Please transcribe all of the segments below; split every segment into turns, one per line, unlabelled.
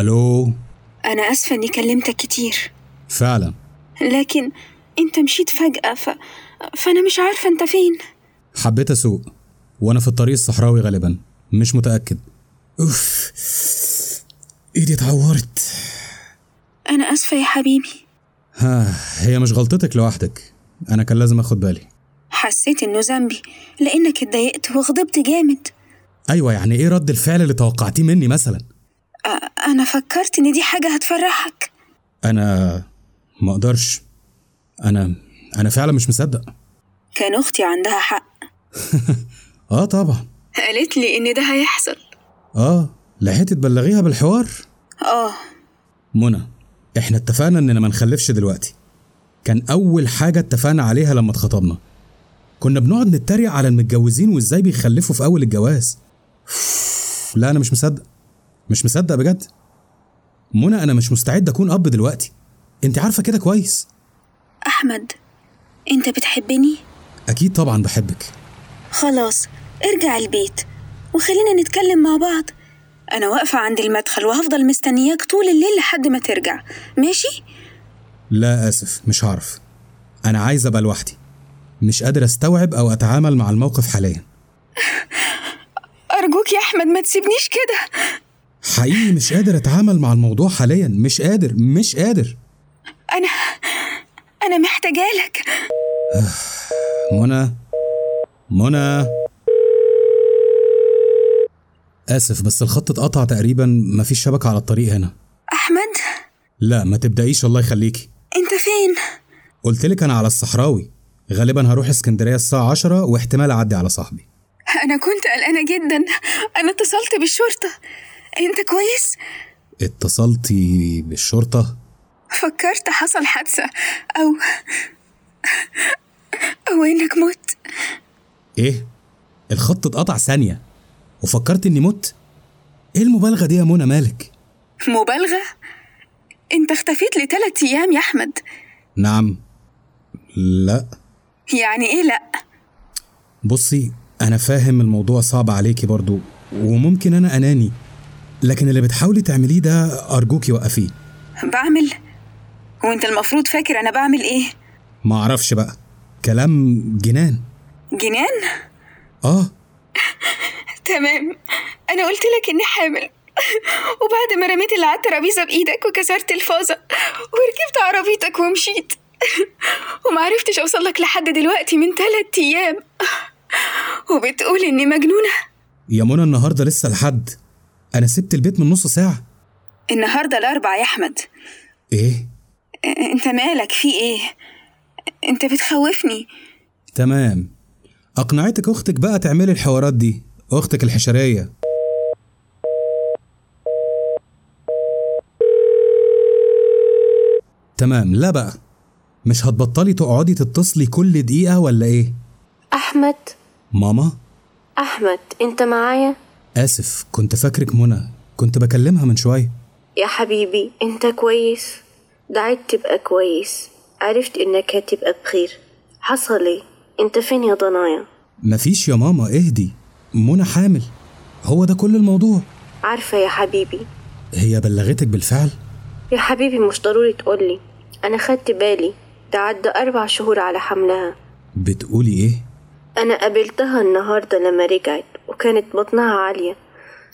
الو
أنا آسفة إني كلمتك كتير
فعلا
لكن أنت مشيت فجأة ف... فأنا مش عارفة أنت فين
حبيت اسوق وانا في الطريق الصحراوي غالبا مش متاكد اوف ايدي اتعورت
أنا آسفة يا حبيبي
ها هي مش غلطتك لوحدك انا كان لازم اخد بالي
حسيت إنه ذنبي لأنك اتضايقت وغضبت جامد
ايوه يعني ايه رد الفعل اللي توقعتيه مني مثلا
أ- أنا فكرت إن دي حاجة هتفرحك
انا ما اقدرش انا انا فعلا مش مصدق
كان أختي عندها حق
اه طبعا
قالت لي إن ده هيحصل
اه لحقتي تبلغيها بالحوار
آه
منى احنا اتفقنا اننا ما نخلفش دلوقتي كان اول حاجه اتفقنا عليها لما اتخطبنا كنا بنقعد نتريق على المتجوزين وازاي بيخلفوا في اول الجواز لا انا مش مصدق مش مصدق بجد منى انا مش مستعد اكون اب دلوقتي انت عارفه كده كويس
أحمد أنت بتحبني؟
اكيد طبعا بحبك
خلاص ارجع البيت وخلينا نتكلم مع بعض أنا واقفة عند المدخل وهفضل مستنياك طول الليل لحد ما ترجع ماشي؟
لا اسف مش هعرف انا عايز ابقى لوحدي مش قادر استوعب او اتعامل مع الموقف حاليا
أرجوك يا أحمد ما تسيبنيش كده
حقيقي مش قادر اتعامل مع الموضوع حاليا مش قادر مش قادر
أنا أنا محتاجالك
منى منى آسف بس الخط اتقطع تقريبا مفيش شبكة على الطريق هنا
أحمد
لا ما تبدأيش الله يخليكي
أنت فين؟
قلت لك أنا على الصحراوي غالبا هروح اسكندرية الساعة عشرة واحتمال أعدي على صاحبي
أنا كنت قلقانة جدا أنا اتصلت بالشرطة أنت كويس؟
اتصلتي بالشرطة
فكرت حصل حادثة أو أو إنك مت
إيه؟ الخط اتقطع ثانية وفكرت إني مت إيه المبالغة دي يا منى مالك؟
مبالغة؟ أنت اختفيت لتلات أيام يا أحمد
نعم لا
يعني إيه لأ؟
بصي انا فاهم الموضوع صعب عليكي برضو وممكن انا اناني لكن اللي بتحاولي تعمليه ده ارجوكي وقفيه
بعمل؟ وأنت المفروض فاكر أنا بعمل إيه؟
ما اعرفش بقى كلام جنان
جنان؟
اه
تمام أنا قلت لك إني حامل وبعد ما رميت اللي على الترابيزة بإيدك وكسرت الفازة وركبت عربيتك ومشيت ومعرفتش أوصل لك لحد دلوقتي من تلات أيام وبتقول إني مجنونة
يا منى النهارده لسه لحد انا سبت البيت من نص ساعه
النهاردة الأربع يا أحمد
ايه
انت مالك في ايه انت بتخوفني
تمام اقنعتك اختك بقى تعملي الحوارات دي اختك الحشريه تمام لا بقى مش هتبطلي تقعدي تتصلي كل دقيقه ولا ايه
أحمد
ماما
أحمد أنت معايا؟
آسف كنت فاكرك منى كنت بكلمها من شوية
يا حبيبي أنت كويس دعيت تبقى كويس عرفت إنك هتبقى بخير حصل إيه؟ أنت فين يا ضنايا؟
مفيش يا ماما اهدي منى حامل هو ده كل الموضوع
عارفة يا حبيبي
هي بلغتك بالفعل
يا حبيبي مش ضروري تقولي أنا خدت بالي ده عدى أربع شهور على حملها
بتقولي ايه
أنا قابلتها النهاردة لما رجعت وكانت بطنها عالية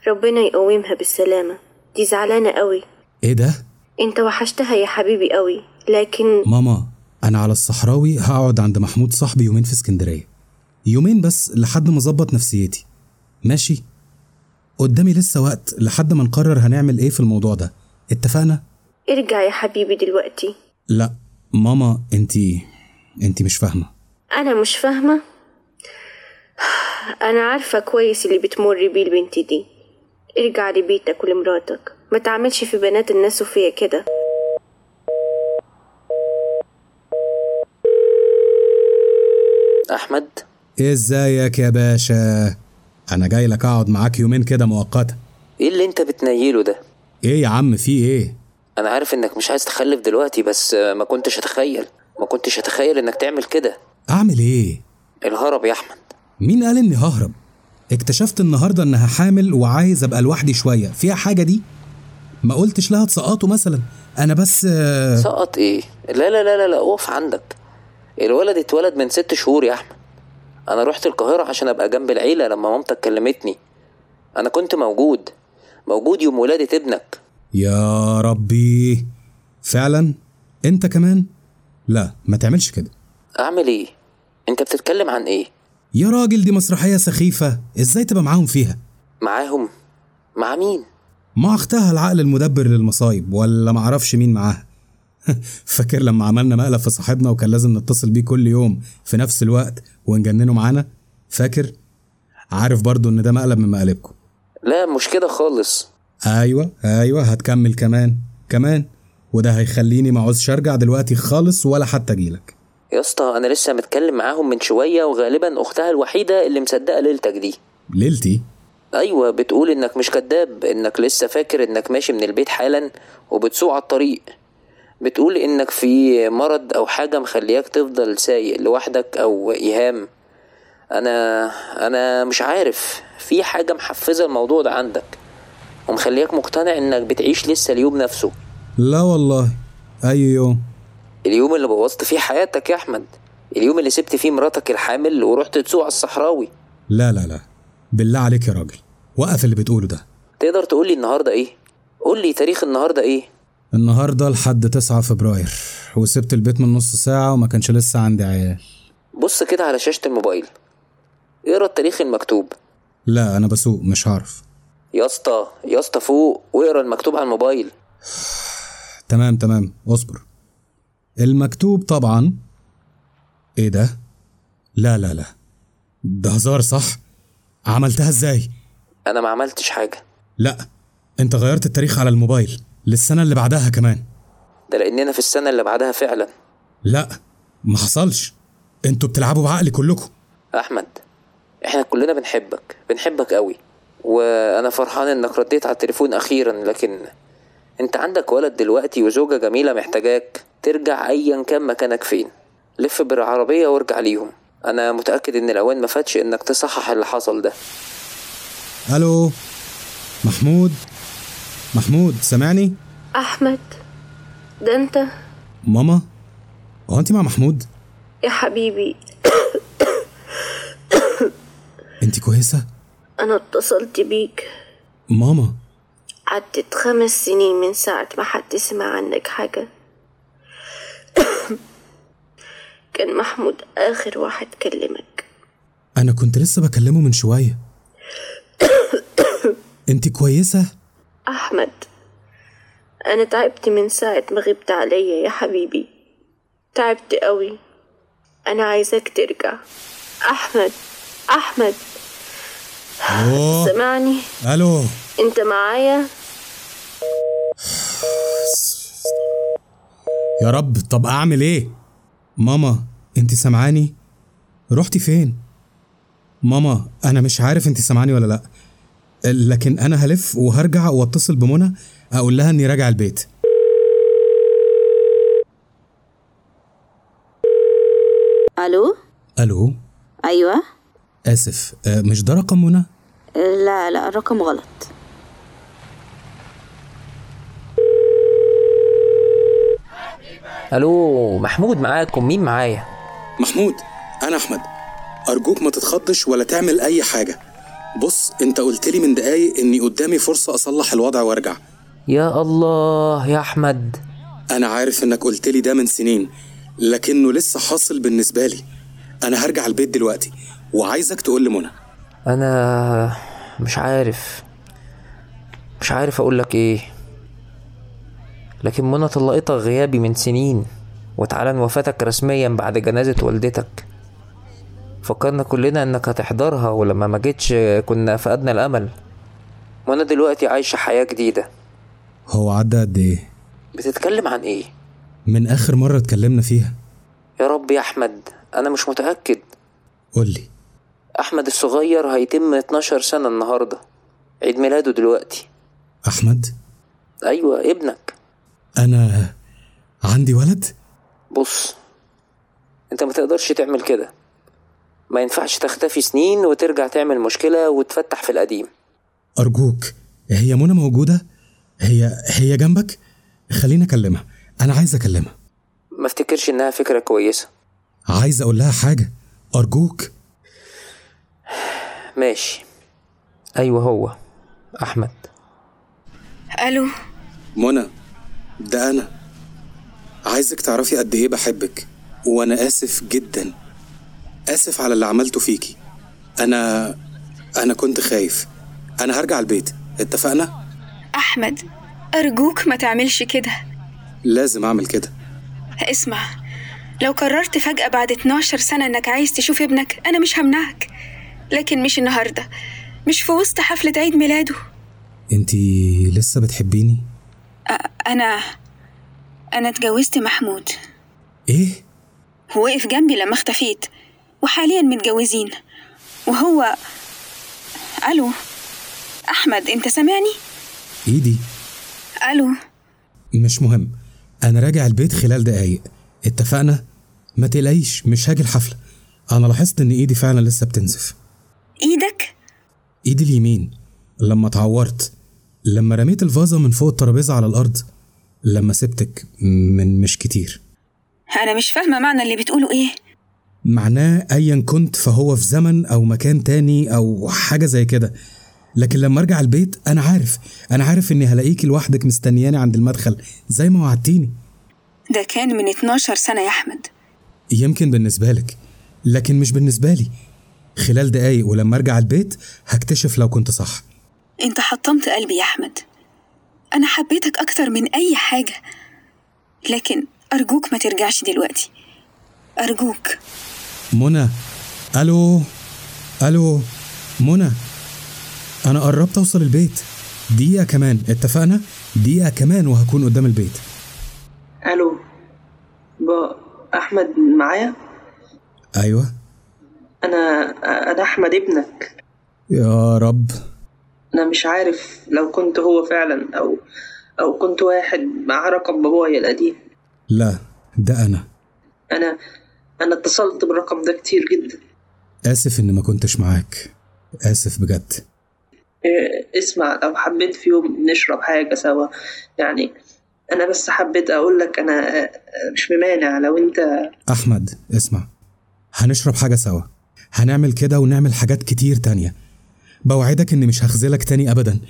ربنا يقومها بالسلامة دي زعلانة قوي
ايه ده
أنت وحشتها يا حبيبي قوي لكن
ماما انا على الصحراوي هقعد عند محمود صاحبي يومين في اسكندرية يومين بس لحد ما اظبط نفسيتي ماشي قدامي لسه وقت لحد ما نقرر هنعمل ايه في الموضوع ده اتفقنا
ارجع يا حبيبي دلوقتي
لا ماما انتي انتي مش فاهمه
أنا مش فاهمة أنا عارفة كويس اللي بتمر بيه البنت دي ارجع لبيتك ولمراتك ما تعملش في بنات الناس وفيا كده
أحمد
ازيك يا باشا انا جاي لك اقعد معاك يومين كده مؤقتا
إيه اللي أنت بتنيله ده؟
ايه يا عم في ايه
أنا عارف إنك مش عايز تخلف دلوقتي بس آه، ما كنتش أتخيل ما كنتش أتخيل إنك تعمل كده
اعمل ايه
الهرب يا أحمد
مين قال اني ههرب اكتشفت النهارده انها حامل وعايز ابقى لوحدي شويه فيها حاجه دي ما قلتش لها تسقطه مثلا انا بس آه،
سقط ايه لا لا لا لا لا اقف عندك الولد اتولد من ست شهور يا احمد انا رحت القاهره عشان ابقى جنب العيله لما مامتك كلمتني انا كنت موجود موجود يوم ولاده ابنك
يا ربي فعلا انت كمان لا ما تعملش كده
اعمل ايه انت بتتكلم عن ايه
يا راجل دي مسرحيه سخيفه ازاي تبقى معاهم فيها
معاهم مع مين
مع اختها العقل المدبر للمصايب ولا معرفش مين معاها فاكر لما عملنا مقلب في صاحبنا وكان لازم نتصل بيه كل يوم في نفس الوقت ونجننه معانا فاكر عارف برضو ان ده مقلب من مقالبكم
لا مش كده خالص
ايوه ايوه هتكمل كمان كمان وده هيخليني ما عاوزش ارجع دلوقتي خالص ولا حتى اجيلك
يا اسطى انا لسه متكلم معاهم من شويه وغالبا اختها الوحيده اللي مصدقه ليلتك دي
ليلتي
ايوه بتقول انك مش كداب انك لسه فاكر انك ماشي من البيت حالا وبتسوق على الطريق بتقول انك في مرض او حاجه مخلياك تفضل سايق لوحدك او ايهام انا انا مش عارف في حاجه محفزه الموضوع ده عندك ومخلياك مقتنع انك بتعيش لسه اليوم نفسه
لا والله أيوة. اي يوم
اليوم اللي بوظت فيه حياتك يا احمد اليوم اللي سبت فيه مراتك الحامل ورحت تسوق على الصحراوي
لا لا لا بالله عليك يا راجل وقف اللي بتقوله ده
تقدر تقولي النهارده ايه قولي تاريخ النهارده ايه
النهارده لحد 9 فبراير وسبت البيت من نص ساعة وما كانش لسه عندي عيال
بص كده على شاشة الموبايل اقرا التاريخ المكتوب
لا أنا بسوق مش هعرف
يا اسطى يا اسطى فوق واقرا المكتوب على الموبايل
تمام تمام اصبر المكتوب طبعا ايه ده؟ لا لا لا ده هزار صح؟ عملتها ازاي؟
انا ما عملتش حاجه
لا انت غيرت التاريخ على الموبايل للسنة اللي بعدها كمان
ده لاننا في السنه اللي بعدها فعلا
لا ما حصلش انتوا بتلعبوا بعقلي كلكم
احمد احنا كلنا بنحبك بنحبك قوي وانا فرحان انك رديت على التليفون اخيرا لكن انت عندك ولد دلوقتي وزوجه جميله محتاجاك ترجع ايا كان مكانك فين لف بالعربيه وارجع ليهم انا متاكد ان الاوان ما فاتش انك تصحح اللي حصل ده
الو محمود محمود سامعني؟
أحمد ده أنت
ماما هو انت مع محمود؟
يا حبيبي
انت كويسة؟
أنا اتصلت بيك
ماما
عدت خمس سنين من ساعة ما حد سمع عنك حاجة كان محمود آخر واحد كلمك
انا كنت لسه بكلمه من شوية انت كويسة؟
أحمد أنا تعبت من ساعة ما غبت عليا يا حبيبي تعبت قوي أنا عايزك ترجع أحمد أحمد
اوه
سمعني
الو
أنت معايا
يا رب طب اعمل ايه؟ ماما انت سامعاني؟ رحتي فين؟ ماما انا مش عارف انت سامعاني ولا لا لكن انا هلف وهرجع واتصل بمنى اقول لها اني راجع البيت
الو
الو
ايوه
اسف آه، مش ده رقم منى؟
لا لا الرقم غلط
الو محمود معاكم مين معايا
محمود انا احمد ارجوك ما تتخضش ولا تعمل اي حاجه بص انت قلت لي من دقايق اني قدامي فرصه اصلح الوضع وارجع
يا الله يا احمد
انا عارف انك قلت لي ده من سنين لكنه لسه حاصل بالنسبه لي انا هرجع البيت دلوقتي وعايزك تقول لمنى
انا مش عارف مش عارف اقول لك ايه لكن منى طلقتك غيابي من سنين واتعلن وفاتك رسميا بعد جنازة والدتك فكرنا كلنا انك هتحضرها ولما ما جيتش كنا فقدنا الامل منى دلوقتي عايشة حياة جديدة
هو عدى قد ايه
بتتكلم عن ايه
من اخر مره اتكلمنا فيها
يا رب يا احمد انا مش متأكد
قول لي
احمد الصغير هيتم 12 سنة النهاردة عيد ميلاده دلوقتي
احمد
ايوه ابنك
انا عندي ولد
بص انت ما تقدرش تعمل كده ما ينفعش تختفي سنين وترجع تعمل مشكلة وتفتح في القديم
ارجوك هي منى موجوده هي هي جنبك خليني اكلمها انا عايز اكلمها
ما افتكرش انها فكرة كويسة
عايز اقول لها حاجه ارجوك
ماشي ايوه هو احمد
الو
منى ده انا عايزك تعرفي قد ايه بحبك وانا اسف جدا اسف على اللي عملته فيكي انا انا كنت خايف انا هرجع البيت اتفقنا
احمد ارجوك ما تعملش كده
لازم اعمل كده
اسمع لو قررت فجأة بعد 12 سنة إنك عايز تشوف ابنك أنا مش همنعك لكن مش النهاردة مش في وسط حفلة عيد ميلاده
انتي لسه بتحبيني
أنا أنا اتجوزت محمود
ايه
ووقف جنبي لما اختفيت وحاليا متجوزين وهو ألو أحمد أنت سامعني؟
ايدي
ألو
إيه مش مهم انا راجع البيت خلال دقايق اتفقنا ما تقلقيش مش هاجي الحفله انا لاحظت ان ايدي فعلا لسه بتنزف
إيدك؟
ايدي اليمين لما اتعورت لما رميت الفازه من فوق الترابيزه على الارض لما سبتك من مش كتير
أنا مش فاهمة معنى اللي بتقوله إيه
معناه ايا كنت فهو في زمن او مكان تاني او حاجه زي كده لكن لما ارجع البيت انا عارف انا عارف اني هلاقيكي لوحدك مستنياني عند المدخل زي ما وعدتيني
ده كان من 12 سنة يا أحمد
يمكن بالنسبة لك لكن مش بالنسبة لي خلال دقايق ولما أرجع البيت هكتشف لو كنت صح
أنت حطمت قلبي يا أحمد أنا حبيتك أكتر من أي حاجة لكن أرجوك ما ترجعش دلوقتي أرجوك
منى ألو ألو منى أنا قربت أوصل البيت دقيقة كمان اتفقنا دقيقة كمان وهكون قدام البيت
الو با احمد معايا
أيوة
انا انا احمد ابنك
يا رب
انا مش عارف لو كنت هو فعلا او او كنت واحد معاه رقم بابايا القديم
لا ده أنا
انا انا اتصلت بالرقم ده كتير جدا
آسف إن ما كنتش معاك آسف بجد
إيه، اسمع لو حبيت في يوم نشرب حاجه سوا يعني انا بس حبيت اقول لك انا آه، مش ممانع لو انت
أحمد اسمع هنشرب حاجة سوا هنعمل كده ونعمل حاجات كتير تانية بوعدك إني مش هخذلك تاني أبدا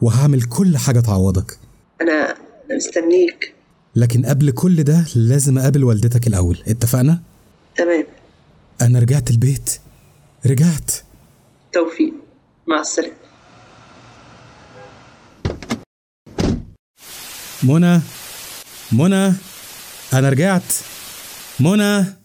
وهعمل كل حاجة تعوضك
انا مستنيك
لكن قبل كل ده لازم أقابل والدتك الأول اتفقنا؟
تمام
أنا رجعت البيت رجعت
توفيق مع السلامه
منى منى أنا رجعت منى